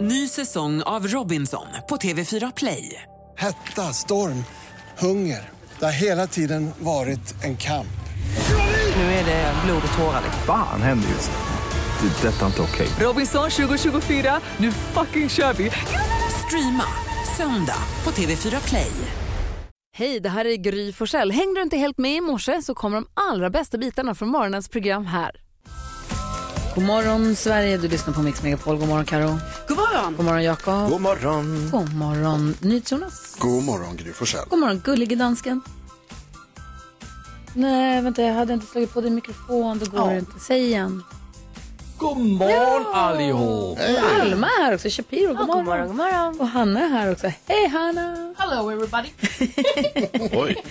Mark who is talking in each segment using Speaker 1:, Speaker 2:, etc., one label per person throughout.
Speaker 1: Ny säsong av Robinson på TV4 Play.
Speaker 2: Hetta, storm, hunger. Det har hela tiden varit en kamp.
Speaker 1: Nu är det blod och tårar.
Speaker 3: Fan händer just nu. Det. är Detta är inte okej.
Speaker 1: Robinson 2024, nu fucking kör vi! Streama söndag på TV4 Play.
Speaker 4: Hej, det här är Gry Forssell. Hängde du inte helt med i morse så kommer de allra bästa bitarna från morgonens program här. God morgon Sverige, du lyssnar på Mix Megapol. God morgon Karo.
Speaker 5: God morgon!
Speaker 4: God morgon Jakob.
Speaker 6: God morgon!
Speaker 4: God morgon NyhetsJonas.
Speaker 2: God morgon, Gry Forssell.
Speaker 4: God morgon gullige dansken. Nej, vänta jag hade inte slagit på din mikrofon. Det går inte. Säg igen.
Speaker 6: God morgon allihop!
Speaker 4: Alma är här också. Shapiro, god, morgon. Och Hanna är här också. Hej Hanna.
Speaker 5: Hello everybody!
Speaker 6: Oj,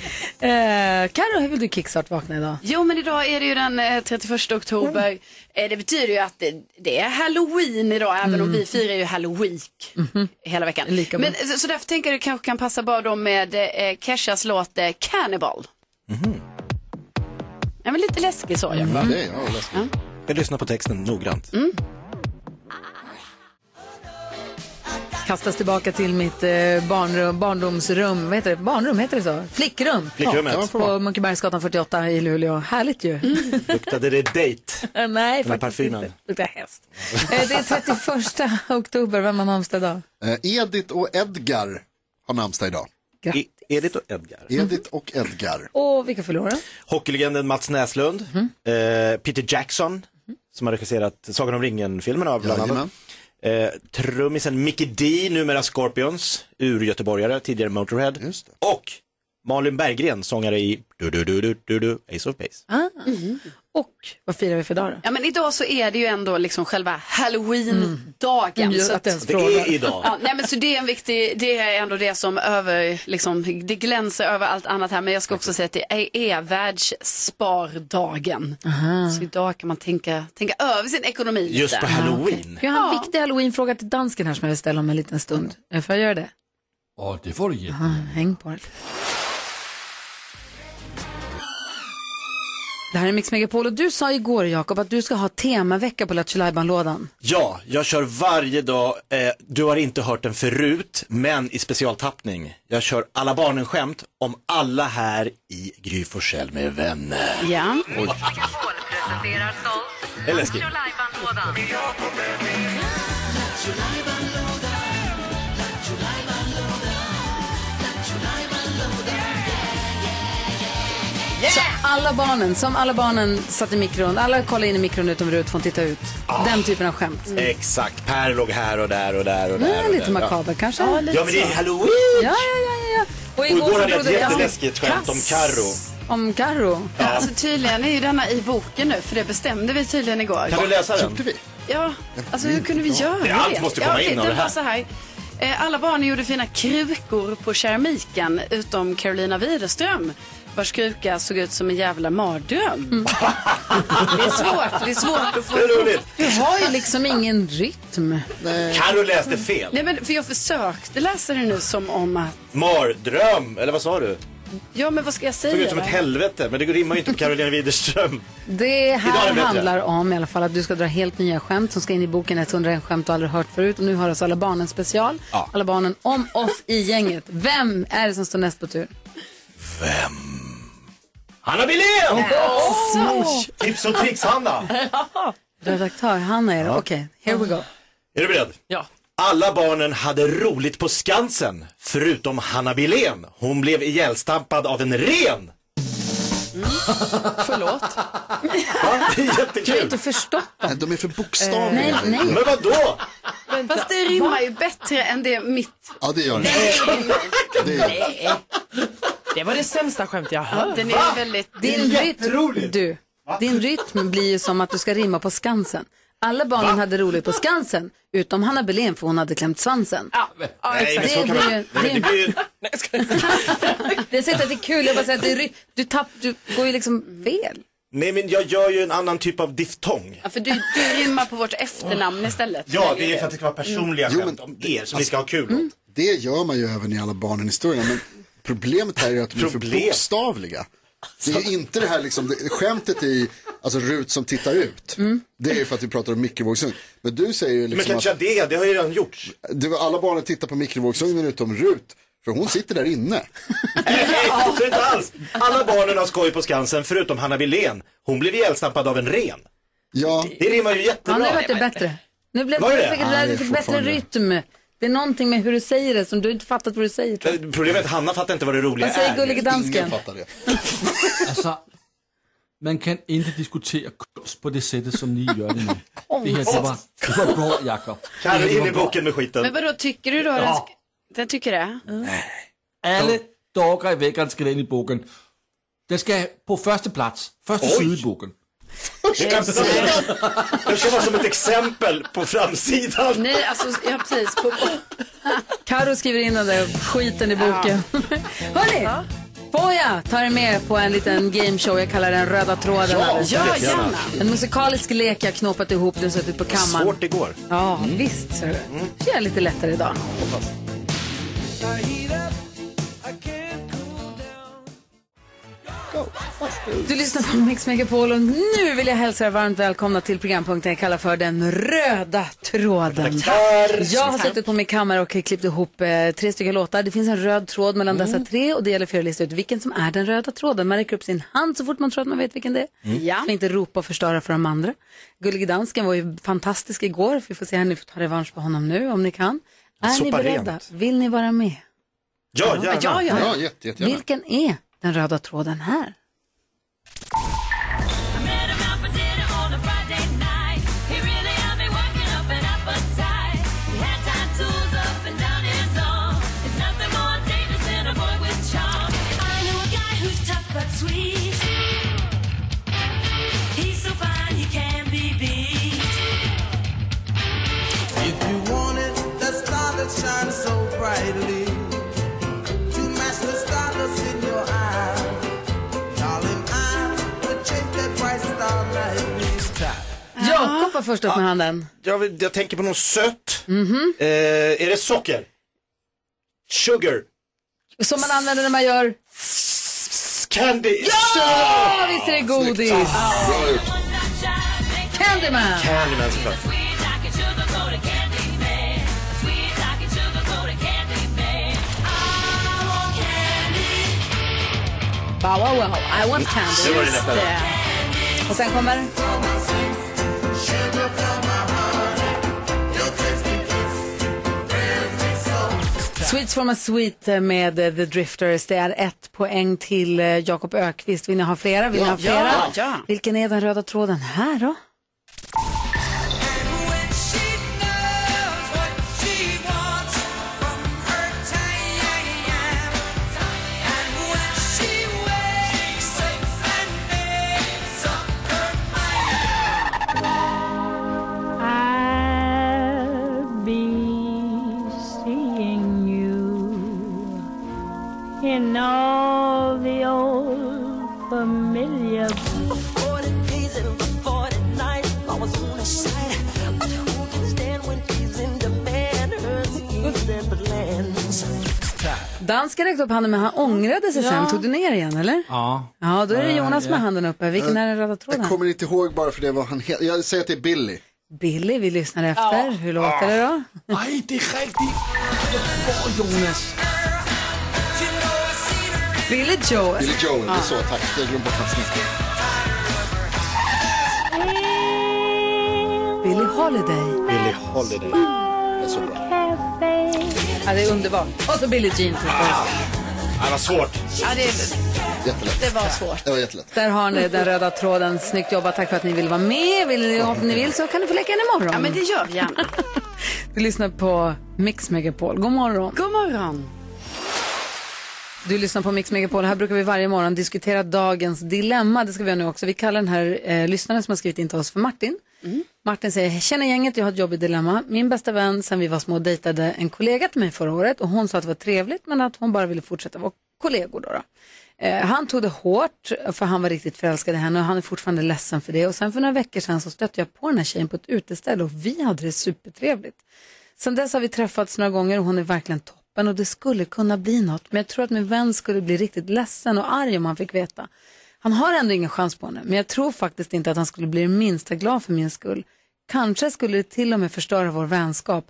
Speaker 4: Eh, Karo, hur vill du kickstart-vakna idag?
Speaker 5: Jo men idag är det ju den eh, 31 oktober. Eh, Det betyder ju att det, det är halloween idag även om vi firar ju halloween hela veckan.
Speaker 4: Lika bra.
Speaker 5: men, eh, så, så därför tänker jag att det kanske kan passa bra då med eh, Keshas låt eh, Cannibal. Ja men lite läskig så
Speaker 7: Mm.
Speaker 5: ja.
Speaker 4: Mm.
Speaker 6: jag lyssnar på texten noggrant.
Speaker 4: kastas tillbaka till mitt eh, barnrum, barndomsrum. Vad heter det? Barnrum, heter det så? Flickrum.
Speaker 6: Flickrummet.
Speaker 4: Ja, på Munkebergsgatan 48 i Luleå. Härligt ju. Eh,
Speaker 6: Luktade det dejt?
Speaker 4: Nej,
Speaker 6: Den här
Speaker 4: faktiskt
Speaker 6: parfymen.
Speaker 4: inte. Luktar häst. Eh, det är 31 oktober. Vem har namnsdag idag?
Speaker 7: Eh, Edith och Edgar har namnsdag idag.
Speaker 4: Grattis.
Speaker 6: I- Edith och Edgar.
Speaker 7: Edith och Edgar.
Speaker 4: Och vilka förlorar?
Speaker 6: Hockeylegenden Mats Näslund. Eh, Peter Jackson, som har regisserat Sagan om ringen-filmerna bland annat.
Speaker 7: Jajamän.
Speaker 6: Eh, trummisen Mickey D, numera Scorpions, urgöteborgare, tidigare Motorhead.
Speaker 7: Just det.
Speaker 6: Och Malin Berggren, sångare i du, du, du, du, du, du, Ace of Base.
Speaker 4: Och vad firar vi för dag då?
Speaker 5: Ja men idag så är det ju ändå liksom själva halloween-dagen.
Speaker 4: Mm,
Speaker 5: Så
Speaker 4: att ens
Speaker 6: Det
Speaker 4: fråga.
Speaker 6: är idag.
Speaker 5: Ja, nej men så det är en viktig, det är ändå det som över, liksom, det glänser över allt annat här. Men jag ska också säga att det är, är världsspardagen. Så idag kan man tänka, tänka över sin ekonomi
Speaker 6: Just på
Speaker 5: lite.
Speaker 6: halloween.
Speaker 4: Jag har en viktig halloweenfråga till dansken här som jag vill ställa om en liten stund. Eh, Får jag göra det?
Speaker 8: Ja, det får du ge.
Speaker 4: Ja, häng på det. Det här är Mix Megapol och du sa igår Jakob att du ska ha temavecka på Lattjo lådan
Speaker 6: Ja, jag kör varje dag. Eh, du har inte hört den förut, men i specialtappning. Jag kör alla barnen-skämt om alla här i Gry Forssell med vänner.
Speaker 5: Ja.
Speaker 6: Det är läskigt.
Speaker 4: Så alla barnen, som alla barnen satt i mikron, alla kollade in i mikron utom Rut får titta ut. Den typen av skämt.
Speaker 6: Exakt, Per låg här och där och där och där.
Speaker 4: Nej,
Speaker 6: och
Speaker 4: lite
Speaker 6: där.
Speaker 4: makaber kanske. Ja,
Speaker 6: Ja, men det är halloween!
Speaker 4: ja, ja, ja. Och
Speaker 6: Och igår
Speaker 4: så
Speaker 6: hade jag
Speaker 4: trodde
Speaker 6: ett
Speaker 4: vi att-
Speaker 6: jätteläskigt skämt om Carro.
Speaker 4: Om Karo.
Speaker 5: Alltså tydligen är ju denna i boken nu, för det bestämde vi tydligen igår.
Speaker 6: Kan du läsa den?
Speaker 7: Gjorde vi?
Speaker 5: Ja, alltså hur kunde vi göra det?
Speaker 6: Det- allt måste komma
Speaker 5: ja,
Speaker 6: in av det
Speaker 5: var
Speaker 6: här.
Speaker 5: Så här. Eh, Alla barnen gjorde fina krukor på keramiken utom Carolina Widerström vars kruka såg ut som en jävla mardröm.
Speaker 4: Mm.
Speaker 5: det är svårt, det är svårt att få
Speaker 6: Det är roligt.
Speaker 4: Du har ju liksom ingen rytm.
Speaker 6: Carro läste fel.
Speaker 5: Nej men för jag försökte läsa det nu som om att,
Speaker 6: Mardröm, eller vad sa du?
Speaker 5: ja men vad ska jag säga?
Speaker 6: Såg ut som ett
Speaker 5: då?
Speaker 6: helvete, men det rimmar ju inte på Carolina Widerström.
Speaker 4: Det
Speaker 6: Idag är
Speaker 4: här
Speaker 6: det bättre.
Speaker 4: handlar om i alla fall att du ska dra helt nya skämt som ska in i boken 101 skämt du aldrig hört förut. Och nu har alltså Alla barnen special.
Speaker 6: Ja.
Speaker 4: Alla barnen om oss i gänget. Vem är det som står näst på tur?
Speaker 6: Hanna Billén! Tips och tricks, Hanna.
Speaker 4: Redaktör Hanna är det. Okej, here we go.
Speaker 6: Är du beredd?
Speaker 8: Ja.
Speaker 6: Alla barnen hade roligt på Skansen, förutom Hanna Billén. Hon blev ihjälstampad av en ren. Mm. Förlåt? Det är
Speaker 4: Du har
Speaker 6: jättekul.
Speaker 4: inte förstått
Speaker 7: Nej, Eh, De är för bokstaviga.
Speaker 4: Eh, nej, nej.
Speaker 6: Men vadå?
Speaker 5: Fast det rimmar ju bättre än det mitt.
Speaker 7: Ja, det gör det. det är...
Speaker 8: Det var det sämsta skämt jag hört.
Speaker 5: Den är ju väldigt...
Speaker 4: din rytm. Du, din rytm blir ju som att du ska rimma på Skansen. Alla barnen hade roligt på Skansen, utom Hanna Belén för hon hade klämt svansen.
Speaker 6: Nej, men
Speaker 4: Det
Speaker 6: så kan
Speaker 4: blir
Speaker 6: man...
Speaker 4: ju-
Speaker 6: Nej, men det blir ju...
Speaker 4: Det säger inte att det är kul, jag bara säger att det är ry- du, tapp, du går ju liksom fel.
Speaker 6: Nej, men jag gör ju en annan typ av diftong.
Speaker 5: Ja, för du, du rimmar på vårt efternamn istället.
Speaker 6: Ja, det är för att det ska vara personliga
Speaker 7: Jo,
Speaker 6: skämt
Speaker 7: men-
Speaker 6: om er som vi ska ha kul åt.
Speaker 7: det gör man ju även i alla barnen historierna. Men problemet här är att de är för
Speaker 6: Problem.
Speaker 7: bokstavliga. Det är ju inte det här liksom, det, skämtet i Alltså Rut som tittar ut.
Speaker 9: Mm.
Speaker 7: Det är ju för att vi pratar om mikrovågsugn. Men du säger ju
Speaker 6: Men
Speaker 7: liksom
Speaker 6: kanske
Speaker 7: att
Speaker 6: det, det har ju redan gjorts.
Speaker 7: det var alla barnen tittar på mikrovågsugnen utom Rut. För hon sitter där inne.
Speaker 6: Nej, så är det inte alls. Alla barnen har skoj på Skansen förutom Hanna Billén. Hon blev ihjälstampad av en ren.
Speaker 7: Ja,
Speaker 6: Det rimmar ju
Speaker 4: Ja, nu
Speaker 6: jättebra.
Speaker 4: vart det bättre. Nu blev
Speaker 6: Var
Speaker 4: det,
Speaker 6: det?
Speaker 4: det,
Speaker 7: Ja, det är
Speaker 4: det, fick bättre
Speaker 7: fortfarande-
Speaker 4: rytm. Det är någonting med hur du säger det som du inte fattat vad du säger. Tror jag.
Speaker 6: Eh, Problemet är att Hanna fattar inte vad det roliga
Speaker 4: Vad säger
Speaker 6: är.
Speaker 4: gullige
Speaker 7: ingen
Speaker 4: dansken?
Speaker 7: fattar det.
Speaker 9: Altså, man kan inte diskutera kunst på det sättet som ni gör det nu. Det här det var, det var bra, Jakob.
Speaker 6: Kan du in i boken med skiten.
Speaker 5: Men vadå, tycker du då den ska... Den tycker det?
Speaker 9: Alla dagar i veckan ska den i boken. Den ska på första plats, första sida i boken.
Speaker 6: Det ska vara som ett exempel på framsidan.
Speaker 5: Nej, alltså, ja precis. På,
Speaker 4: Karo skriver in den där skiten i boken. Hörni, får jag ta er med på en liten gameshow jag kallar den Röda tråden? alldeles
Speaker 5: ja,
Speaker 4: strax.
Speaker 5: gärna.
Speaker 4: En musikalisk lek jag knåpat ihop, den suttit på kammaren.
Speaker 6: Svårt det går.
Speaker 4: Ja, visst. Så är det.
Speaker 6: Mm.
Speaker 4: Det är lite lättare idag. Du lyssnar på Mix Megapol och nu vill jag hälsa er varmt välkomna till programpunkten jag kallar för den röda tråden. Jag har suttit på min kammare och klippt ihop eh, tre stycken låtar. Det finns en röd tråd mellan
Speaker 5: Mm.
Speaker 4: dessa tre och det gäller för er att lista ut vilken som är den röda tråden. Man räcker upp sin hand så fort man tror att man vet vilken det är.
Speaker 5: Ja.
Speaker 4: Får inte ropa och förstöra för de andra. Gullige dansken var ju fantastisk igår. Vi får se här, ni får ta revansch på honom nu om ni kan. Är ni
Speaker 6: Sopa
Speaker 4: beredda?
Speaker 6: rent.
Speaker 4: Vill ni vara med?
Speaker 6: Ja,
Speaker 5: Ja,
Speaker 6: gärna.
Speaker 5: ja.
Speaker 7: Ja, jätte, jättegärna.
Speaker 4: Vilken är den röda tråden här? Jakob var först upp med handen.
Speaker 6: Jag, vill- jag tänker på något sött. Eh, är det socker? Sugar?
Speaker 4: Som man använder när man gör...
Speaker 6: S- Candy? Ja!
Speaker 4: Ja, visst är det godis!
Speaker 7: Bra gjort.
Speaker 4: Candyman!
Speaker 6: Candyman såklart.
Speaker 4: Wow, wow, wow. I want candy.
Speaker 6: Det var det lättare.
Speaker 4: Och sen kommer... Sweets from a sweet med eh, The Drifters. Det är ett poäng till eh, Jakob Ökvist. Vill ni ha flera? Vill ni ha flera?
Speaker 5: Ja, ja.
Speaker 4: Vilken är den röda tråden här då? Dansken räckte upp handen men han ångrade sig sen. Tog du ner igen eller?
Speaker 9: Ja.
Speaker 4: Ja, då är det Jonas med handen uppe. Vilken är den röda tråden?
Speaker 7: Jag kommer inte ihåg bara för det vad han heter. Jag säger att det är Billy.
Speaker 4: Billy, vi lyssnar efter. Hur låter det då?
Speaker 9: Nej, det är riktigt. Åh, Jonas.
Speaker 4: Billy Joel.
Speaker 7: Billy Joel, det är så. Tack. Jag glömde bort hans namn.
Speaker 4: Billy Holiday.
Speaker 6: Billie Holiday.
Speaker 7: Det är så bra.
Speaker 4: Ja, det är underbart. Och så Billie Jean förstås.
Speaker 6: Ah, vad svårt.
Speaker 7: Jättelätt.
Speaker 5: Det var svårt.
Speaker 7: Det var jättelätt.
Speaker 4: Där har ni den röda tråden. Snyggt jobbat. Tack för att ni vill vara med. Vill, ni- om ni vill så kan ni få leka en imorgon.
Speaker 5: Ja, men det gör vi gärna.
Speaker 4: Du lyssnar på Mix Megapol. God morgon.
Speaker 5: God morgon.
Speaker 4: Du lyssnar på Mix Megapol. Här brukar vi varje morgon diskutera dagens dilemma. Det ska vi göra nu också. Vi kallar den här eh, lyssnaren som har skrivit in till oss för Martin. Martin säger, känner gänget, jag har ett jobbigt dilemma. Min bästa vän sen vi var små dejtade en kollega till mig förra året och hon sa att det var trevligt men att hon bara ville fortsätta vara kollegor. Då då. Eh, han tog det hårt för han var riktigt förälskad i henne och han är fortfarande ledsen för det. Och sen för några veckor sedan så stötte jag på den här tjejen på ett uteställe och vi hade det supertrevligt. Sen dess har vi träffats några gånger och hon är verkligen toppen och det skulle kunna bli något. Men jag tror att min vän skulle bli riktigt ledsen och arg om han fick veta. Han har ändå ingen chans på henne, men jag tror faktiskt inte att han skulle bli det minsta glad för min skull. Kanske skulle det till och med förstöra vår vänskap.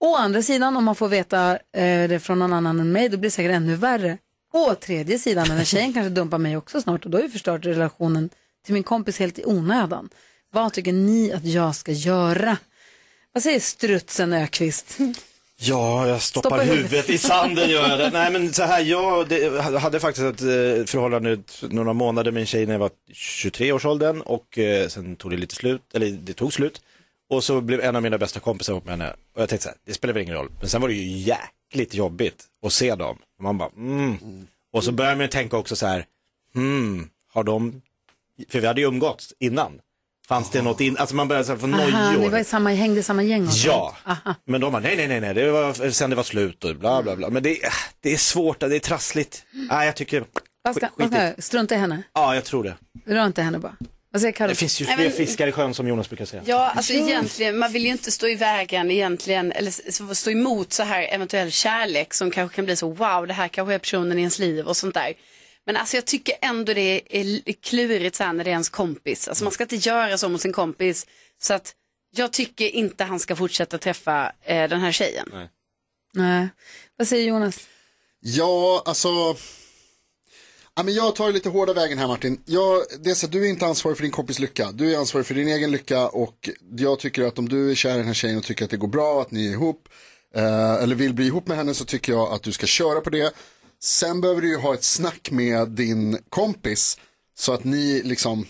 Speaker 4: Å andra sidan, om man får veta eh, det från någon annan än mig, då blir det säkert ännu värre. Å tredje sidan, den här tjejen kanske dumpar mig också snart och då har ju förstört relationen till min kompis helt i onödan. Vad tycker ni att jag ska göra? Vad säger strutsen Ökvist?
Speaker 6: Ja, jag stoppar
Speaker 4: Stoppa huvudet.
Speaker 6: huvudet i sanden gör jag det. Nej men så här, jag det, hade faktiskt ett eh, förhållande ut några månader med en tjej när jag var 23 års åldern och eh, sen tog det lite slut, eller det tog slut. Och så blev en av mina bästa kompisar ihop med henne och jag tänkte så här, det spelar väl ingen roll. Men sen var det ju jäkligt jobbigt att se dem. Man bara, mm. Och så börjar man tänka också så här, hmm, har de, för vi hade ju umgåtts innan. Fanns det något in, alltså man börjar så här få
Speaker 4: Aha,
Speaker 6: nojor.
Speaker 4: ni var i samma häng, det är samma gäng? och
Speaker 6: Ja,
Speaker 4: sånt. Aha.
Speaker 6: men de bara nej, nej, nej, nej, det var sen det var slut och bla, bla, bla. Men det, äh, det är svårt, det är trassligt. Nej, jag tycker,
Speaker 4: Mm. Vad ska,
Speaker 6: skit-
Speaker 4: vad ska
Speaker 6: skit i.
Speaker 4: jag göra? Strunta i henne?
Speaker 6: ja, jag tror det.
Speaker 4: Rör inte henne bara. Vad säger Carro?
Speaker 6: Det finns ju
Speaker 5: Nej,
Speaker 6: fler
Speaker 5: men-
Speaker 6: fiskar i sjön som Jonas brukar säga.
Speaker 5: Ja, alltså egentligen, man vill ju inte stå i vägen egentligen, eller s- s- stå emot så här eventuell kärlek som kanske kan bli så, wow, det här kanske är personen i ens liv och sånt där. Men alltså jag tycker ändå det är l- klurigt så här när det är ens kompis. Alltså man ska inte göra så mot sin kompis. Så att jag tycker inte han ska fortsätta träffa eh, den här tjejen.
Speaker 4: Nej. Vad säger Jonas?
Speaker 7: Ja, alltså. Ja, men jag tar lite hårda vägen här Martin. Jag, det är så, att du är inte ansvarig för din kompis lycka. Du är ansvarig för din egen lycka och jag tycker att om du är kär i den här tjejen och tycker att det går bra, att ni är ihop eh, eller vill bli ihop med henne så tycker jag att du ska köra på det. Sen behöver du ju ha ett snack med din kompis så att ni liksom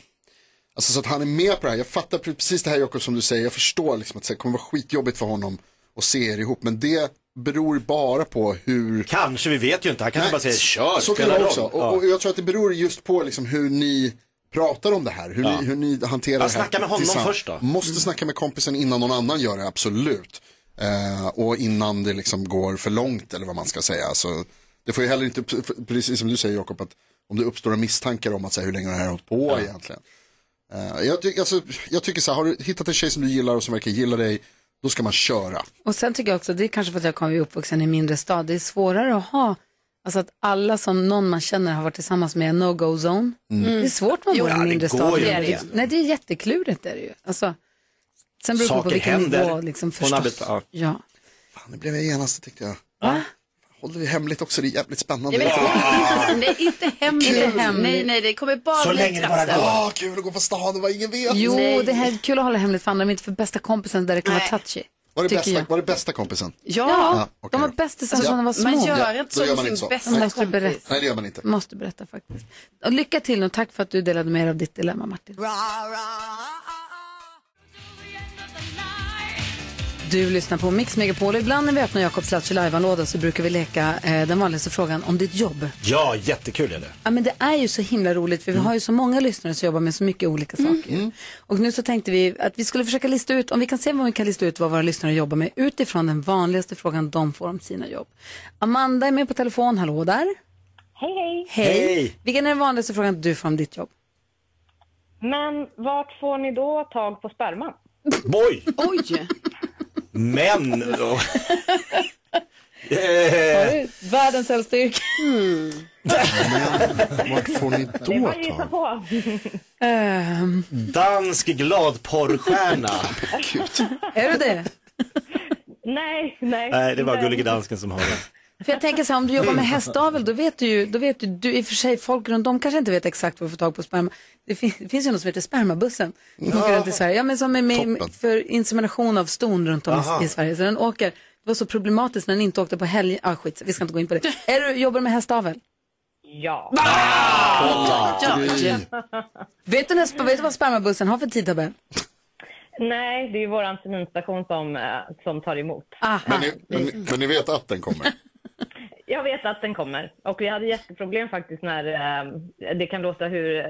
Speaker 7: Alltså så att han är med på det här. Jag fattar precis det här Jakob som du säger. Jag förstår liksom att det kommer vara skitjobbigt för honom att se er ihop. Men det beror bara på hur
Speaker 6: Kanske, vi vet ju inte, han kanske bara säger kör,
Speaker 7: så kan
Speaker 6: spelar
Speaker 7: det
Speaker 6: roll."
Speaker 7: också.
Speaker 6: Ja.
Speaker 7: Och, och jag tror att det beror just på liksom hur ni pratar om det här. Hur, ni, hur ni hanterar
Speaker 6: Ja,
Speaker 7: det här.
Speaker 6: snacka med honom
Speaker 7: tillsammans.
Speaker 6: först då.
Speaker 7: Måste snacka med kompisen innan någon annan gör det, absolut. Eh, och innan det liksom går för långt eller vad man ska säga. Alltså, det får ju heller inte, precis som du säger Jakob, att om det uppstår några misstankar om att så här, hur länge har det här hållit på egentligen. Eh, jag, ty- alltså, jag tycker så här, har du hittat en tjej som du gillar och som verkar gilla dig, då ska man köra.
Speaker 4: Och sen tycker jag också, det är kanske för att jag kommer uppvuxen i en mindre stad, det är svårare att ha, alltså att alla som någon man känner har varit tillsammans med är en no-go-zone. Det är svårt man bor i
Speaker 6: Mm. Ja,
Speaker 4: en
Speaker 6: det
Speaker 4: mindre
Speaker 6: går
Speaker 4: stad.
Speaker 6: ju
Speaker 4: Det är
Speaker 5: inte.
Speaker 4: ju- Nej, det är jätteklurigt det är det ju. Alltså, sen beror det på
Speaker 6: Saker
Speaker 4: vilken
Speaker 6: händer.
Speaker 4: nivå liksom,
Speaker 6: Hon
Speaker 4: förstås.
Speaker 6: arbetar- ja.
Speaker 4: ja.
Speaker 7: Fan, det blev jag genast tyckte jag.
Speaker 4: Va?
Speaker 7: Håller vi hemligt också, det är jävligt spännande.
Speaker 5: Jag vet inte, det är inte hemligt.
Speaker 4: Inte hemligt.
Speaker 5: Nej, nej, det kommer bara
Speaker 6: Så
Speaker 5: bli
Speaker 6: länge det bara
Speaker 5: trassel.
Speaker 6: går.
Speaker 7: Ah, kul att gå på stan och vad ingen vet.
Speaker 4: Jo,
Speaker 5: Nej.
Speaker 4: det här är kul att hålla hemligt för andra, men inte för bästa kompisen där det kan
Speaker 5: Nej.
Speaker 4: vara touchy.
Speaker 7: var, det
Speaker 4: tycker
Speaker 7: bästa,
Speaker 4: jag.
Speaker 7: var det bästa kompisen?
Speaker 5: Ja,
Speaker 4: Ja,
Speaker 7: okej
Speaker 4: de var
Speaker 7: då. Alltså,
Speaker 4: bästisar när de var små.
Speaker 5: man gör
Speaker 7: Ja,
Speaker 5: inte
Speaker 7: då
Speaker 5: så
Speaker 7: gör
Speaker 5: med
Speaker 7: man
Speaker 5: sin
Speaker 7: inte så.
Speaker 5: bästa
Speaker 4: Jag måste
Speaker 5: kompis.
Speaker 4: berätta.
Speaker 7: Nej, det gör man inte.
Speaker 4: Måste berätta faktiskt. Och lycka till och tack för att du delade med dig av ditt dilemma Martin. Du lyssnar på Mix Megapol och ibland när vi öppnar Jakobs Lattjo Lajban-låda så brukar vi leka eh, den vanligaste frågan om ditt jobb.
Speaker 6: Ja, jättekul är det.
Speaker 4: Ja, men det är ju så himla roligt för vi
Speaker 7: Mm.
Speaker 4: har ju så många lyssnare som jobbar med så mycket olika saker. Och nu så tänkte vi att vi skulle försöka lista ut, om vi kan se om vi kan lista ut vad våra lyssnare jobbar med utifrån den vanligaste frågan de får om sina jobb. Amanda är med på telefon, hallå där. Hej, hej. Hej.
Speaker 6: Hej.
Speaker 4: Vilken är den vanligaste frågan du får om ditt jobb?
Speaker 10: Men vart får ni då tag på sperman?
Speaker 6: Boj,
Speaker 5: Oj,
Speaker 6: men. Eh, och-
Speaker 4: Världens äldsta yrke.
Speaker 7: Vart får ni då tag?
Speaker 10: På.
Speaker 4: Ehm,
Speaker 6: Dansk gladporrstjärna.
Speaker 4: Är du det?
Speaker 10: Nej, nej.
Speaker 6: Nej, det var gullige dansken som har det.
Speaker 4: För jag tänker så här, om du jobbar med hästavel, då vet du ju, då vet du, du i och för sig, folk runt om kanske inte vet exakt var du får tag på sperma. Det, fin- det finns ju något som heter spermabussen. Som åker runt i Sverige. Ja, men som är med
Speaker 7: Toppen.
Speaker 4: för insemination av ston runt om i, i Sverige. Så den åker, det var så problematiskt när den inte åkte på helg. Ah, skit, vi ska inte gå in på det. Är du, jobbar du med hästavel?
Speaker 10: Ja.
Speaker 5: George.
Speaker 4: Vet du, när, sp- vet du vad spermabussen har för tidtabell?
Speaker 10: Nej, det är ju vår instation som, eh, som tar emot.
Speaker 7: Men ni, men, ni- men ni vet att den kommer?
Speaker 10: Jag vet att den kommer. Och vi hade jätteproblem faktiskt när, eh, det kan låta hur eh,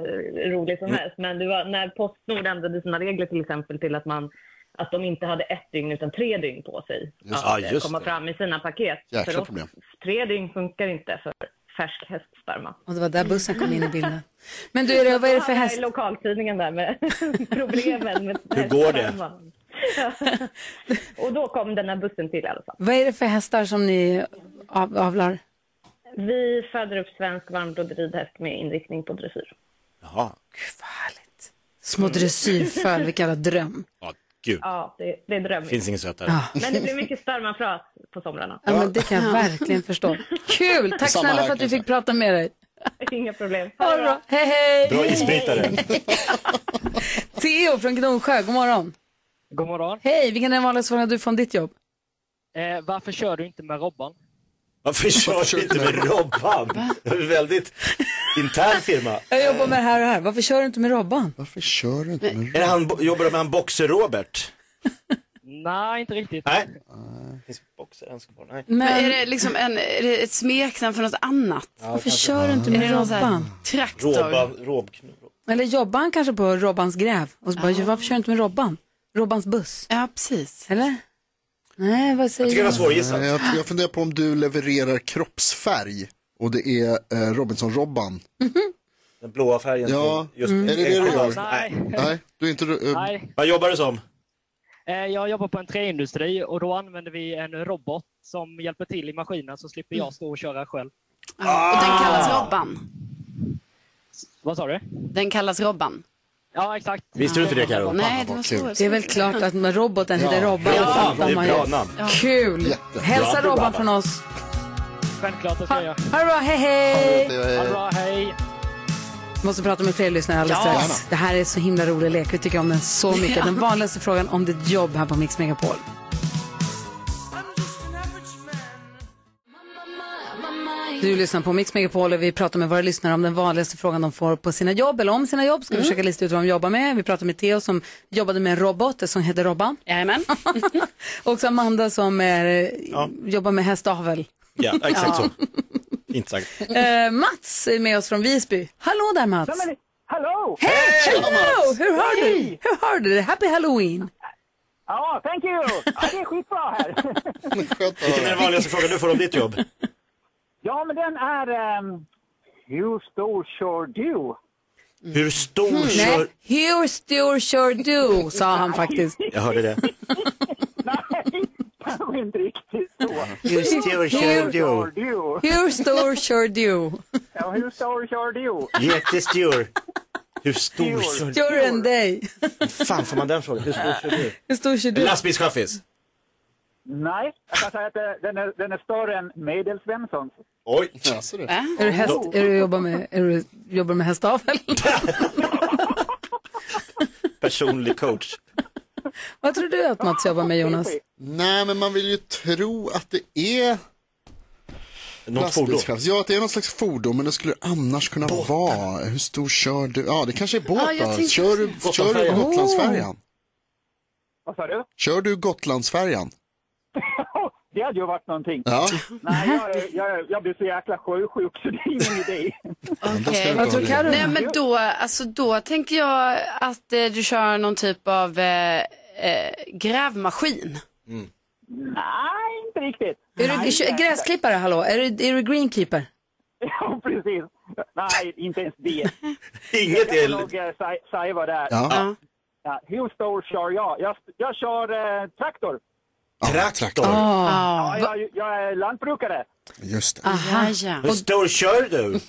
Speaker 10: roligt
Speaker 6: Mm.
Speaker 10: som helst, men det var när Postnord ändrade sina regler till exempel till att man att de inte hade ett dygn utan tre dygn på sig
Speaker 6: Ja,
Speaker 10: att eh,
Speaker 6: just
Speaker 10: komma
Speaker 6: det.
Speaker 10: fram i sina paket.
Speaker 7: Jäkla
Speaker 10: för oss,
Speaker 7: problem.
Speaker 10: tre dygn funkar inte för färsk hästsperma.
Speaker 4: Och det var där bussen kom in i bilden. Men du, är det, vad är det för
Speaker 10: Ja,
Speaker 4: häst?
Speaker 10: i lokaltidningen där med problemen med
Speaker 6: Hur går det?
Speaker 10: hästsperman. Ja. Och då kom den här bussen till i alla fall.
Speaker 4: Vad är det för hästar som ni av, avlar?
Speaker 10: Vi föder upp svensk varmblodig ridhäst med inriktning på dressyr.
Speaker 6: Jaha.
Speaker 4: Små dressyrföl, vilken jävla dröm.
Speaker 6: Ja, gud.
Speaker 10: Ja, det, det är drömmigt.
Speaker 6: Finns ingen sötare.
Speaker 4: Ja.
Speaker 10: Men det blir mycket stormanfras på somrarna.
Speaker 4: Ja, men det kan jag verkligen förstå. Kul! Tack
Speaker 10: Samma
Speaker 4: snälla
Speaker 10: här,
Speaker 4: för att vi
Speaker 10: kanske.
Speaker 4: fick prata med dig.
Speaker 10: Inga problem.
Speaker 4: Ha det bra. Hej, hej!
Speaker 6: Bra isbrytare.
Speaker 4: Theo från Gnosjö, god morgon.
Speaker 11: God morgon.
Speaker 4: Hej, vilken är den vanligaste frågan du får om ditt jobb?
Speaker 11: Eh, varför kör du inte med Robban?
Speaker 6: Varför kör du inte med Robban? Det är en väldigt intern firma.
Speaker 4: Jag jobbar med det här och det här. Varför kör du inte med Robban?
Speaker 6: Varför kör du inte med Robban? Han, bo- jobbar med han Boxer-Robert?
Speaker 11: Nej, inte riktigt.
Speaker 6: Nej. Finns Boxer ens kvar? Nej.
Speaker 5: Men... är det liksom en, är det ett smeknamn för något annat?
Speaker 6: Ja, Varför kanske. kör du inte
Speaker 5: Är
Speaker 4: med
Speaker 5: det någon så här
Speaker 4: Robban?
Speaker 5: Traktor?
Speaker 6: Robban, Robknull.
Speaker 4: Eller jobbar han kanske på Robbans gräv? Och så bara, "Jo, varför kör du inte med Robban? Robbans buss?
Speaker 5: Ja, precis.
Speaker 4: Eller? Nej, vad säger du?
Speaker 7: Nej, Jag, jag funderar på om du levererar kroppsfärg och det är eh, Robinson-Robban.
Speaker 6: Den blåa färgen.
Speaker 7: Ja, Mm.
Speaker 6: till- just-
Speaker 7: är det det du gör?
Speaker 11: Nej.
Speaker 7: Nej, du är inte... eh,
Speaker 11: Nej.
Speaker 6: Vad jobbar du som?
Speaker 11: Eh, jag jobbar på en träindustri och då använder vi en robot som hjälper till i maskinen så slipper jag stå och köra själv.
Speaker 6: Ah!
Speaker 5: Och den kallas Robban.
Speaker 11: Vad sa du?
Speaker 5: Den kallas Robban.
Speaker 11: Ja, exakt.
Speaker 6: Visste du inte det, Karo?
Speaker 5: Nej, det var svårt.
Speaker 4: Det är väl klart att med roboten heter
Speaker 6: Ja,
Speaker 4: Robban.
Speaker 6: ja,
Speaker 4: det fattar
Speaker 6: det är
Speaker 4: man
Speaker 6: bra
Speaker 4: ju.
Speaker 6: namn. Ja.
Speaker 4: Kul!
Speaker 6: Jättebra.
Speaker 4: Hälsa
Speaker 6: Bra,
Speaker 4: Robban
Speaker 6: Robban.
Speaker 4: från oss.
Speaker 11: Självklart, det ska jag göra.
Speaker 4: Ha det bra, hej hej!
Speaker 11: Ha det bra, hej!
Speaker 4: Måste prata med fler lyssnare alldeles
Speaker 11: Ja.
Speaker 4: strax. Det här är så himla rolig lek. Vi tycker om den så mycket.
Speaker 11: Ja.
Speaker 4: Den vanligaste frågan om ditt jobb här på Mix Megapol. Du lyssnar på Mix Megapol och vi pratar med våra lyssnare om den vanligaste frågan de får på sina jobb eller om sina jobb.
Speaker 11: Mm.
Speaker 4: Ska vi försöka lista ut vad de jobbar med. Vi pratar med Theo som jobbade med en robot som heter Robban.
Speaker 5: Jajamän.
Speaker 4: och så Amanda som är, jobbar med hästavel.
Speaker 6: Ja, exakt
Speaker 4: Ja.
Speaker 6: så. Fint sagt.
Speaker 4: Eh, Mats är med oss från Visby. Hallå där Mats!
Speaker 12: Hello!
Speaker 4: Hej! Hello!
Speaker 12: Mats!
Speaker 4: Hur har du?
Speaker 12: Hej!
Speaker 4: Hur har du det? Happy Halloween!
Speaker 12: Ja, thank you! Ja, det är skitbra här.
Speaker 6: Vilken är den vanligaste frågan du får om ditt jobb?
Speaker 7: Mm.
Speaker 12: Ja, men den är... ehm, hur stor kör du?
Speaker 6: Hur stor kör...
Speaker 4: Nej, hur stor kör du? sa han faktiskt.
Speaker 6: Jag hörde det.
Speaker 12: Kanske inte riktigt så.
Speaker 6: Hur stor kör du?
Speaker 4: Hur stor kör du?
Speaker 12: Ja, hur stor kör du?
Speaker 6: Jättestor. Hur stor kör du?
Speaker 4: Större än dig.
Speaker 6: fan får man den frågan? Hur stor kör du?
Speaker 4: Hur stor kör
Speaker 6: En
Speaker 4: du?
Speaker 6: lastbilschaffis.
Speaker 12: Nej, jag kan säga att eh, den är, den är större än Medelsvenssons.
Speaker 6: Oj.
Speaker 4: Är du häst? Är du jobbar med, är du, jobbar med hästavel?
Speaker 6: Personlig coach.
Speaker 4: Vad tror du att Mats jobbar med Jonas?
Speaker 7: Nej, men man vill ju tro att det är...
Speaker 6: Något
Speaker 7: lastbilschaufför. Ja, att det är något slags fordon, men det skulle annars kunna vara. Hur stor kör du? Ja, det kanske är båt
Speaker 12: Ja, jag
Speaker 7: då.
Speaker 12: tänkte-
Speaker 7: Kör du, kör
Speaker 12: Gotlandsfärjan.
Speaker 7: du Gotlandsfärjan?
Speaker 12: Vad sa du?
Speaker 7: Kör du Gotlandsfärjan?
Speaker 12: Det hade ju varit någonting.
Speaker 7: Ja.
Speaker 12: Nej, jag, är- jag, är- jag blir så jäkla sjösjuk så det är ingen idé.
Speaker 5: Okej. Nej, men då, alltså, då tänker jag att eh, du kör någon typ av eh, eh, grävmaskin.
Speaker 12: Nej, inte riktigt. Nej,
Speaker 4: Är du
Speaker 12: inte
Speaker 4: kö-
Speaker 12: ens det.
Speaker 4: gräsklippare, hallå? Är du, är du greenkeeper?
Speaker 12: Ja, precis. Nej, inte ens det.
Speaker 6: Inget
Speaker 12: Jag
Speaker 6: är-
Speaker 12: kan nog eh, sä- säga vad det är.
Speaker 7: Ja. Ja.
Speaker 12: Ja, hur stor kör jag? Jag, jag kör eh, traktor.
Speaker 6: Traktor.
Speaker 12: Ja, jag, jag är lantbrukare.
Speaker 7: Just det.
Speaker 12: Aha,
Speaker 6: Hur stor kör du?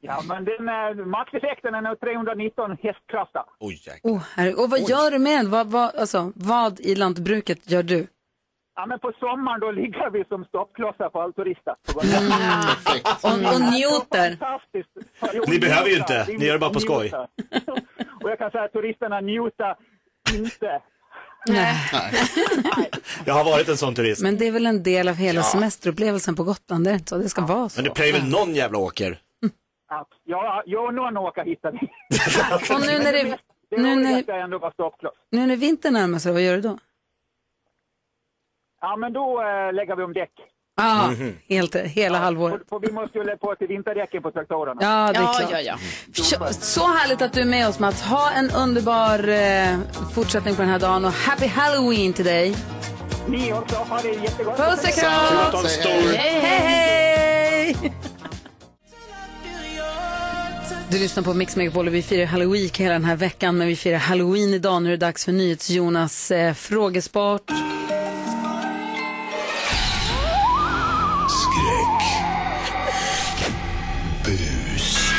Speaker 12: Ja, men den, eh, maxeffekten är nog 319 hästkrafter.
Speaker 6: Oj, jäklar.
Speaker 4: Oh, herre. Och vad gör du med vad, vad, alltså, vad i lantbruket gör du?
Speaker 12: Ja, men på sommaren då ligger vi som stoppklossar på altorister.
Speaker 4: Och, och njuter.
Speaker 6: Ni behöver ju inte. Ni gör det bara på skoj.
Speaker 12: Och jag kan säga att turisterna njuter inte.
Speaker 6: Jag har varit en sån turist.
Speaker 4: Men det är väl en del av hela
Speaker 6: Ja.
Speaker 4: semesterupplevelsen på Gotland, det är inte så? Det ska vara så.
Speaker 6: Men det plöjer väl någon jävla åker?
Speaker 12: Ja, ja, ja någon åker hittar vi.
Speaker 4: Och nu när det-
Speaker 12: Det
Speaker 4: nu när-
Speaker 12: roligaste är ändå bara stoppkloss.
Speaker 4: Nu när vintern närmar sig, vad gör du då?
Speaker 12: Ja, men då eh, lägger vi om däck. Mhm.
Speaker 4: Ja, helt, hela halvåret.
Speaker 12: För vi måste ju lägga på till vinterdäcken på traktorerna.
Speaker 4: Ja, det är klart. Kö- Så härligt att du är med oss Mats. Ha en underbar eh, fortsättning på den här dagen och happy halloween till dig.
Speaker 12: Ni också, ha det jättegott.
Speaker 4: Puss och kram! Hej, hej! Du lyssnar på Mix Megapol och vi firar halloween hela den här veckan men vi firar halloween idag. Nu är det dags för NyhetsJonas eh, frågesport.
Speaker 13: Skräck. Bus.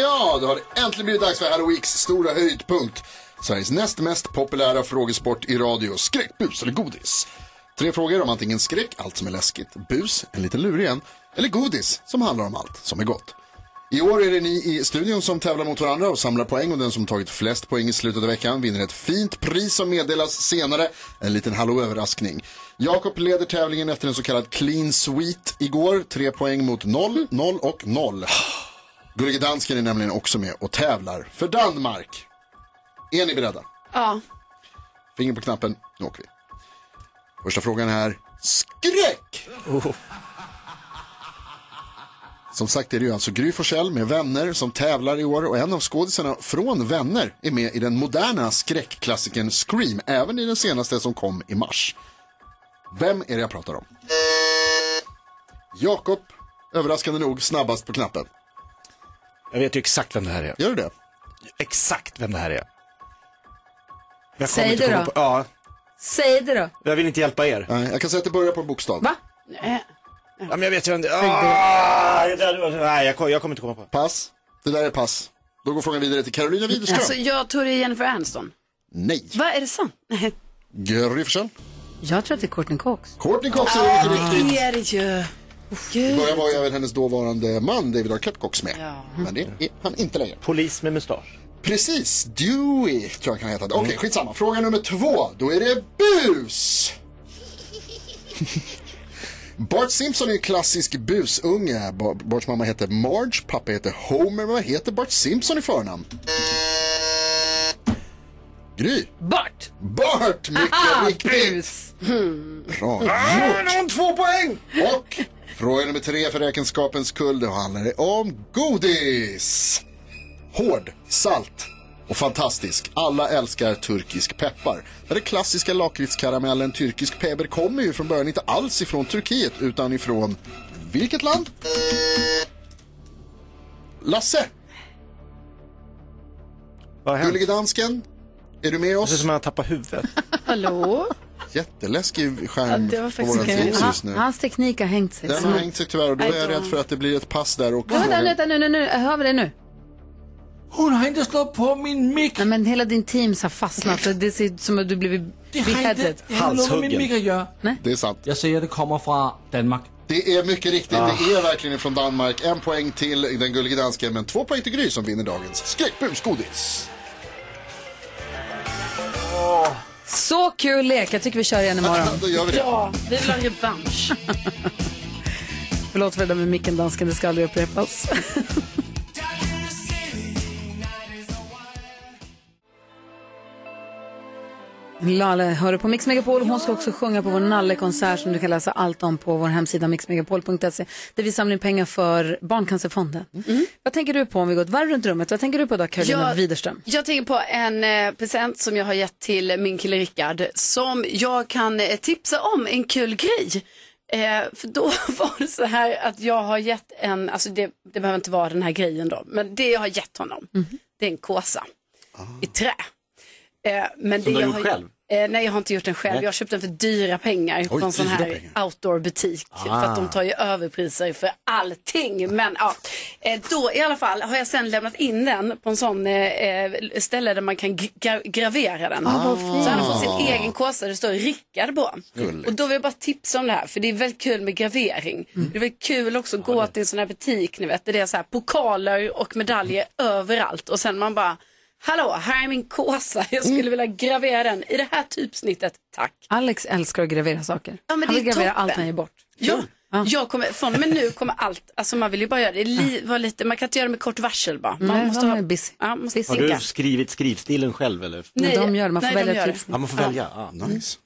Speaker 7: Ja, då har det äntligen blivit dags för Herr Weeks stora höjdpunkt. Sveriges näst mest populära frågesport i radio. Skräck, bus eller godis? Tre frågor om antingen skräck, allt som är läskigt, bus, en liten lurig en, eller godis, som handlar om allt som är gott. I år är det ni i studion som tävlar mot varandra och samlar poäng och den som tagit flest poäng i slutet av veckan vinner ett fint pris som meddelas senare. En liten hallå-överraskning. Jakob leder tävlingen efter en så kallad clean sweep igår. Tre poäng mot noll, noll och noll. Gullige Dansken är nämligen också med och tävlar för Danmark. Är ni beredda?
Speaker 5: Ja.
Speaker 7: Finger på knappen, nu åker vi. Första frågan är skräck! Som sagt är det ju alltså Gry Forssell med Vänner som tävlar i år och en av skådisarna från Vänner är med i den moderna skräckklassikern Scream, även i den senaste som kom i mars. Vem är det jag pratar om? Jakob, överraskande nog snabbast på knappen.
Speaker 6: Jag vet ju exakt vem det här är.
Speaker 7: Gör du det?
Speaker 6: Exakt vem det här är. Jag kommer
Speaker 4: Säg
Speaker 6: inte
Speaker 4: det
Speaker 6: komma
Speaker 4: då.
Speaker 6: På, ja,
Speaker 4: Säg det då.
Speaker 6: jag vill inte hjälpa er.
Speaker 7: Nej, jag kan säga att det börjar på en bokstav.
Speaker 4: Va?
Speaker 5: eh,
Speaker 6: Ja, men jag vet ju inte. Ah, det där, var- nej, jag, kom- jag kommer inte komma på det.
Speaker 7: Pass. Det där är pass. Då går frågan vidare till Carolina Widerström.
Speaker 5: Alltså jag tror det är Jennifer Aniston.
Speaker 7: Nej.
Speaker 5: Vad är det sant? Nej.
Speaker 7: Gry Forssell.
Speaker 4: Jag tror att det är Courtney Cox.
Speaker 7: Courtney Cox är mycket
Speaker 5: det
Speaker 7: riktigt.
Speaker 5: är det ju.
Speaker 7: I början
Speaker 5: Gud.
Speaker 7: var ju även hennes dåvarande man David Arquette Cox med. Men det är han inte längre.
Speaker 6: Polis med mustasch.
Speaker 7: Precis, Dewey tror jag kan heta. Okej, skitsamma. Fråga nummer två, då är det bus! Bart Simpson är en klassisk busunge. Ba- Barts mamma heter Marge, pappa heter Homer. Men Vad heter Bart Simpson i förnamn? Gry.
Speaker 4: Bart!
Speaker 7: Bart, mycket riktigt. Bra
Speaker 6: Ah,
Speaker 7: gjort.
Speaker 6: nu har hon två poäng!
Speaker 7: Och fråga nummer tre för räkenskapens skull, då handlar det om godis. Hård, salt och fantastisk. Alla älskar turkisk peppar. Den klassiska lakritskaramellen turkisk pepper kommer ju från början inte alls ifrån Turkiet utan ifrån vilket land? Lasse,
Speaker 6: Vad har hänt?
Speaker 7: Gullige Dansken, är du med
Speaker 6: Det ser ut
Speaker 7: oss?
Speaker 6: som att han tappar huvudet.
Speaker 5: Hallå?
Speaker 7: Jätteläskig
Speaker 5: Ja,
Speaker 7: skärm
Speaker 5: det var
Speaker 7: på
Speaker 5: faktiskt
Speaker 7: våran
Speaker 5: kul.
Speaker 7: Teams
Speaker 4: Han,
Speaker 7: just nu.
Speaker 4: hans teknik har hängt sig.
Speaker 7: Den har hängt sig tyvärr och då är jag
Speaker 5: Aj då.
Speaker 7: rädd för att det blir ett pass där och
Speaker 4: Ja, vänta,
Speaker 7: frågan-
Speaker 4: vänta, nu, nu, nu, hör vi det nu?
Speaker 9: Hon har inte slått på min mick.
Speaker 4: Nej, men hela din Teams har fastnat. så Det ser ut som att du blivit
Speaker 9: Det har inte
Speaker 4: beheaded.
Speaker 9: det har inte något med min
Speaker 6: Halshuggen.
Speaker 9: mick att göra.
Speaker 7: Det är sant.
Speaker 9: Jag säger att det kommer från Danmark. Ah.
Speaker 7: Det är mycket riktigt, det är verkligen från Danmark. En poäng till den gullige dansken, men två poäng till Gry som vinner dagens skräckbusgodis.
Speaker 4: Så kul lek. Jag tycker vi kör igen imorgon.
Speaker 7: Då gör vi det.
Speaker 5: Ja, vi vill ha revansch.
Speaker 4: Förlåt för det där med micken, dansken. Det ska aldrig upprepas. Lale hör du på Mix Megapol. Hon ska också sjunga på vår Nalle-konsert som du kan läsa allt om på vår hemsida mixmegapol.se där vi samlar in pengar för Barncancerfonden.
Speaker 5: Mm.
Speaker 4: Vad tänker du på om vi går ett varv runt rummet? Vad tänker du på idag, Karolina
Speaker 5: Jag-
Speaker 4: Widerström?
Speaker 5: Jag tänker på en eh, present som jag har gett till min kille Rickard som jag kan eh, tipsa om en kul grej. Eh, för då var det så här att jag har gett en, alltså det, det behöver inte vara den här grejen då, men det jag har gett honom det är en kåsa i trä. Eh, men
Speaker 6: Ah. Som
Speaker 5: det
Speaker 6: du har
Speaker 5: jag
Speaker 6: gjort
Speaker 5: har,
Speaker 6: själv?
Speaker 5: Eh, nej, jag har inte gjort den själv.
Speaker 6: Nej.
Speaker 5: Jag har köpt den för dyra pengar på en sån
Speaker 6: dyra
Speaker 5: här
Speaker 6: pengar.
Speaker 5: eh, outdoor-butik. För att de tar ju överpriser för allting. Men ja, eh, då i alla fall har jag sen lämnat in den på en sån eh, eh, ställe där man kan gra- gravera den. Så han har fått sin egen kåsa, det står Rickard på. Och då vill jag bara tipsa om det här, för det är väldigt kul med gravering. Det är väldigt kul också att gå till en sån här butik, ni vet, där det är så här pokaler och medaljer överallt. Och sen man bara, hallå, här är min kåsa, jag skulle vilja gravera den i det här typsnittet, tack.
Speaker 4: Alex älskar att gravera saker.
Speaker 5: Ja, men
Speaker 4: han
Speaker 5: det
Speaker 4: vill
Speaker 5: är
Speaker 4: gravera
Speaker 5: toppen.
Speaker 4: allt han ger bort.
Speaker 5: Ja, jag kommer, från och med nu kommer allt, alltså man vill ju bara göra det, li, var lite, man kan inte göra det med kort varsel bara. Man
Speaker 4: Nej,
Speaker 5: måste
Speaker 4: de
Speaker 5: ha,
Speaker 4: är busy.
Speaker 5: ja, måste
Speaker 4: Busy.
Speaker 6: Har du
Speaker 5: tänka.
Speaker 6: skrivit skrivstilen själv eller?
Speaker 4: Men
Speaker 5: Nej,
Speaker 4: de gör det. Man får
Speaker 5: nej, de
Speaker 4: välja
Speaker 5: gör det.
Speaker 4: typ.
Speaker 6: Ja, man får välja. Ah, Ja.
Speaker 7: Nice.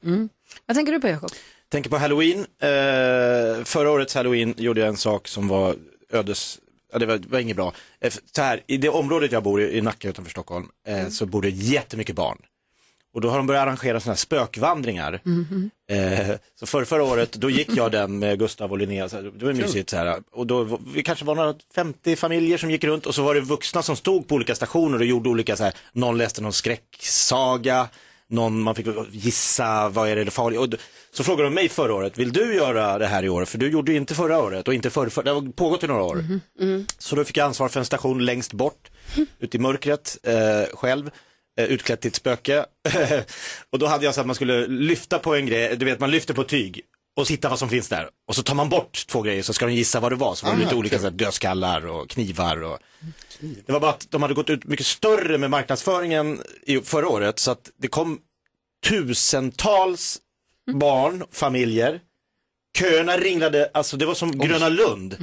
Speaker 4: Vad tänker du på, Jakob?
Speaker 6: Tänker på halloween. Eh, förra årets halloween gjorde jag en sak som var ödes... Ja, det var, det var inget bra. Eh, så här, I det området jag bor i, i Nacka utanför Stockholm, eh, så bor det jättemycket barn. Och då har de börjat arrangera sådana här spökvandringar. Eh, så för, förra året, då gick jag den med Gustav och Linnea, så här, det var mysigt så här. Och då, var- vi kanske var några 50 familjer som gick runt och så var det vuxna som stod på olika stationer och gjorde olika så här, någon läste någon skräcksaga, någon, man fick gissa vad är det det farliga. Och d- så frågade de mig förra året, vill du göra det här i år? För du gjorde ju inte förra året och inte förr, för, det har pågått i några år. Så då fick jag ansvar för en station längst bort, ute i mörkret, eh, själv, eh, utklädd till ett spöke. och då hade jag så att man skulle lyfta på en grej, du vet man lyfter på tyg och titta vad som finns där. Och så tar man bort två grejer så ska de gissa vad det var. Så var det
Speaker 13: Ah,
Speaker 6: lite olika
Speaker 13: kul.
Speaker 6: så här, dödskallar och knivar. Och... Det var bara att de hade gått ut mycket större med marknadsföringen i förra året så att det kom tusentals barn, familjer. Köerna ringlade, alltså det var som Gröna Lund.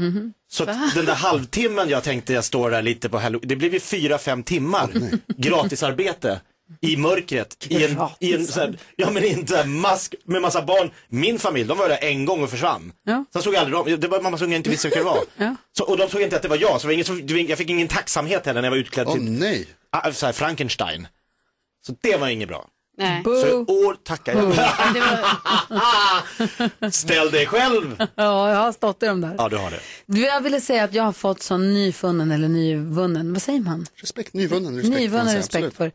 Speaker 6: Så att den där halvtimmen jag tänkte jag står där lite på Halloween, det blev ju fyra, fem timmar gratisarbete i mörkret. I en, i en, så här, ja men inte mask med massa barn. Min familj, de var där en gång och försvann. Sen såg jag aldrig dem, det var mamma som inte visste vilka det var. Så, och de såg inte att det var jag, så det var ingen, som- det var ingen- jag fick ingen tacksamhet heller när jag var utklädd till Ah,
Speaker 7: nej.
Speaker 6: så här Frankenstein. Så det var inget bra.
Speaker 5: Nej.
Speaker 6: Så i år tackar jag. Ställ dig själv!
Speaker 4: Ja, jag har stått i dem där.
Speaker 6: Ja, du har det.
Speaker 4: Du, Jag ville säga att jag har fått sån nyfunnen eller nyvunnen, vad säger man?
Speaker 7: Respekt, nyvunnen respekt. får man
Speaker 4: Nyvunnen
Speaker 7: säga,
Speaker 4: respekt
Speaker 7: absolut.
Speaker 4: för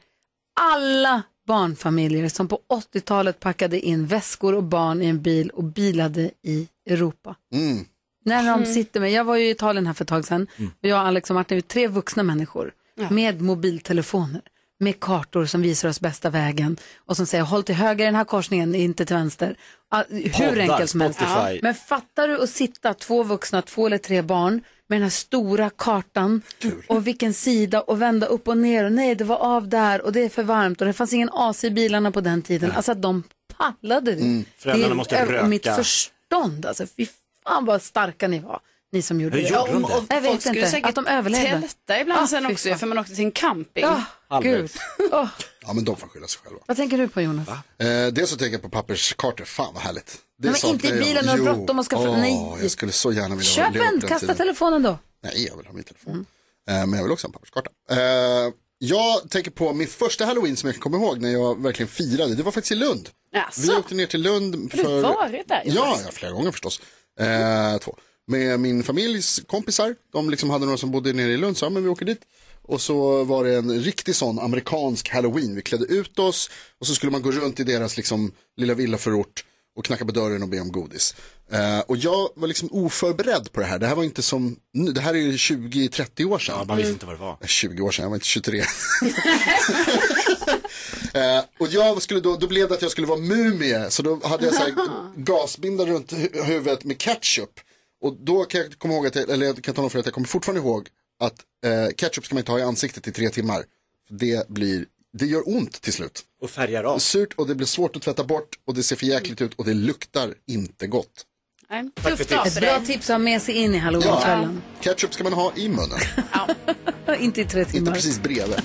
Speaker 4: alla barnfamiljer som på 80-talet packade in väskor och barn i en bil och bilade i Europa.
Speaker 7: Mm.
Speaker 4: När de
Speaker 7: Mm.
Speaker 4: sitter med, jag var ju i Italien här för ett tag sedan
Speaker 14: Mm.
Speaker 4: och jag, Alex och Martin, vi är tre vuxna människor med mobiltelefoner, med kartor som visar oss bästa vägen och som säger håll till höger i den här korsningen, inte till vänster. Ah, Hur
Speaker 14: Poddar,
Speaker 4: enkelt som helst.
Speaker 14: Spotify.
Speaker 4: Men fattar du att sitta två vuxna, två eller tre barn med den här stora kartan och vilken sida och vända upp och ner och nej det var av där och det är för varmt och det fanns ingen AC i bilarna på den tiden. Alltså att de pallade det.
Speaker 6: Mm. Föräldrarna
Speaker 4: det
Speaker 6: måste
Speaker 4: är över
Speaker 6: röka.
Speaker 4: mitt förstånd alltså. Fy fan vad starka ni var, ni som gjorde
Speaker 6: Hur
Speaker 4: det.
Speaker 6: gjorde de det?
Speaker 4: Jag
Speaker 5: Folk
Speaker 4: vet
Speaker 5: skulle
Speaker 4: inte,
Speaker 5: säkert
Speaker 4: att de överlevde.
Speaker 5: Tälta ibland
Speaker 4: Ah,
Speaker 5: sen
Speaker 4: fy
Speaker 5: också
Speaker 4: fan.
Speaker 5: för man åkte till en camping.
Speaker 4: Ja, gud.
Speaker 7: Alldeles.
Speaker 4: Åh,
Speaker 7: Ja, men de får skylla sig själva.
Speaker 4: vad tänker du på Jonas?
Speaker 7: Eh, dels så tänker jag på papperskartor, fan vad härligt.
Speaker 4: Nej, men
Speaker 7: saknar
Speaker 4: inte i
Speaker 7: jag.
Speaker 4: bilen när du har
Speaker 7: Jo.
Speaker 4: bråttom och ska-
Speaker 7: Åh,
Speaker 4: nej.
Speaker 7: Jag skulle så gärna vilja
Speaker 4: Köp
Speaker 7: leva på
Speaker 4: en,
Speaker 7: den
Speaker 4: kasta
Speaker 7: tiden.
Speaker 4: telefonen då.
Speaker 7: Nej, jag vill ha min telefon.
Speaker 5: Mm.
Speaker 7: Eh, men jag vill också ha en papperskarta. Eh, jag tänker på min första halloween som jag kan komma ihåg när jag verkligen firade. Det var faktiskt i Lund. Vi åkte ner till Lund.
Speaker 5: Har du varit där,
Speaker 7: Ja,
Speaker 5: Jonas?
Speaker 7: ja, flera gånger förstås. Eh, två. Med min familjs kompisar. De liksom hade några som bodde nere i Lund, så ja, men vi åker dit. Och så var det en riktig sån amerikansk halloween. Vi klädde ut oss och så skulle man gå runt i deras liksom, lilla villaförort och knacka på dörren och be om godis. Eh, och jag var liksom oförberedd på det här. Det här var inte som nu. Det här är ju 20-30 år sedan.
Speaker 6: Man visste inte vad det var.
Speaker 7: 20 år sedan, jag var inte 23. Eh, och jag skulle då, då blev det att jag skulle vara mumie. Så då hade jag så här gasbindar runt hu- huvudet med ketchup. Och då kan jag komma ihåg, att jag, eller jag kan tala om för att jag kommer fortfarande ihåg att eh, ketchup ska man inte ha i ansiktet i tre timmar. För Det blir, det gör ont till slut.
Speaker 6: Och färgar av.
Speaker 7: Surt och det blir svårt att tvätta bort och det ser för jäkligt ut och det luktar inte gott.
Speaker 5: Nej,
Speaker 7: för
Speaker 5: tufft
Speaker 7: tips.
Speaker 5: dag
Speaker 4: Ett
Speaker 5: för
Speaker 4: bra
Speaker 5: dig.
Speaker 4: tips att ha med sig in i halloweenkvällen.
Speaker 7: Ketchup ska man ha i munnen,
Speaker 4: Inte i tre timmar.
Speaker 7: inte precis bredvid.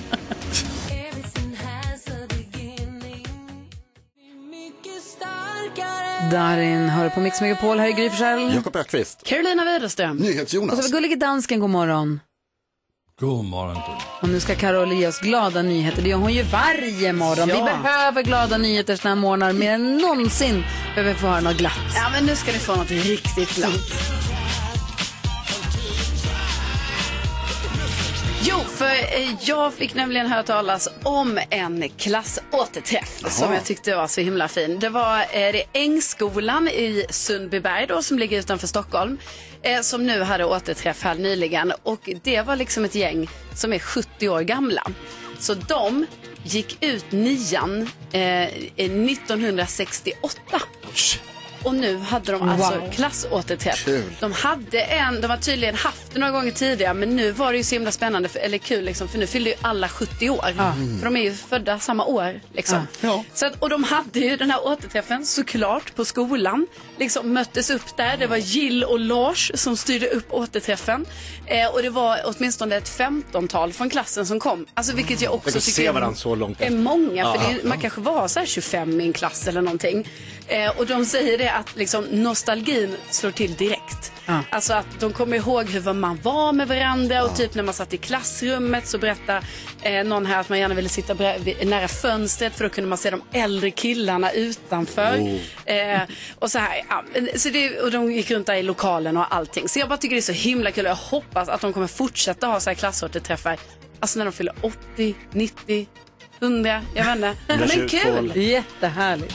Speaker 4: Darin hör på Mix Megapol, här i Gry Forssell.
Speaker 6: Jakob Ökvist.
Speaker 5: Carolina Widerström.
Speaker 4: Och så har vi gullige dansken, god morgon.
Speaker 9: God morgon.
Speaker 4: Och nu ska Carol ge oss glada nyheter. Det gör hon ju varje morgon.
Speaker 5: Ja.
Speaker 4: Vi behöver glada nyheter såna här morgnar mer än någonsin. Behöver få höra något glatt.
Speaker 5: Ja, men nu ska du få något riktigt glatt. Jo, för eh, jag fick nämligen höra talas om en klassåterträff som jag tyckte var så himla fin. Det var eh, det Ängskolan i Sundbyberg då, som ligger utanför Stockholm eh, som nu hade återträff här nyligen. Och det var liksom ett gäng som är 70 år gamla. Så de gick ut nian eh, 1968. Och nu hade de alltså
Speaker 14: Wow.
Speaker 5: klassåterträff.
Speaker 14: Kul.
Speaker 5: De hade en, de har tydligen haft det några gånger tidigare men nu var det ju så himla spännande, för, eller kul liksom, för nu fyllde ju alla 70 år.
Speaker 14: Mm.
Speaker 5: För de är ju födda samma år liksom. Så att, och de hade ju den här återträffen såklart på skolan. Liksom möttes upp där, det var Jill och Lars som styrde upp återträffen. Eh, och det var åtminstone ett 15-tal från klassen som kom. Alltså vilket jag också
Speaker 6: Tänk att
Speaker 5: tycker
Speaker 6: se
Speaker 5: är-
Speaker 6: varandra så långt
Speaker 5: är
Speaker 6: efter.
Speaker 5: många, för
Speaker 6: Ja.
Speaker 5: det är, man kanske var så här 25 i en klass eller någonting. Eh, och de säger det att liksom, nostalgin slår till direkt.
Speaker 14: Ja.
Speaker 5: Alltså att de kommer ihåg hur vad man var med varandra och typ när man satt i klassrummet så berättade eh, någon här att man gärna ville sitta brä- vid- nära fönstret för då kunde man se de äldre killarna utanför. Eh, och så här, ja, men- så det, och de gick runt där i lokalen och allting. Så jag bara tycker det är så himla kul och jag hoppas att de kommer fortsätta ha så här klassåterträffar. Alltså när de fyller 80, 90, 100, jag vet inte. Men
Speaker 4: 120
Speaker 5: kul!
Speaker 4: får- Jättehärligt.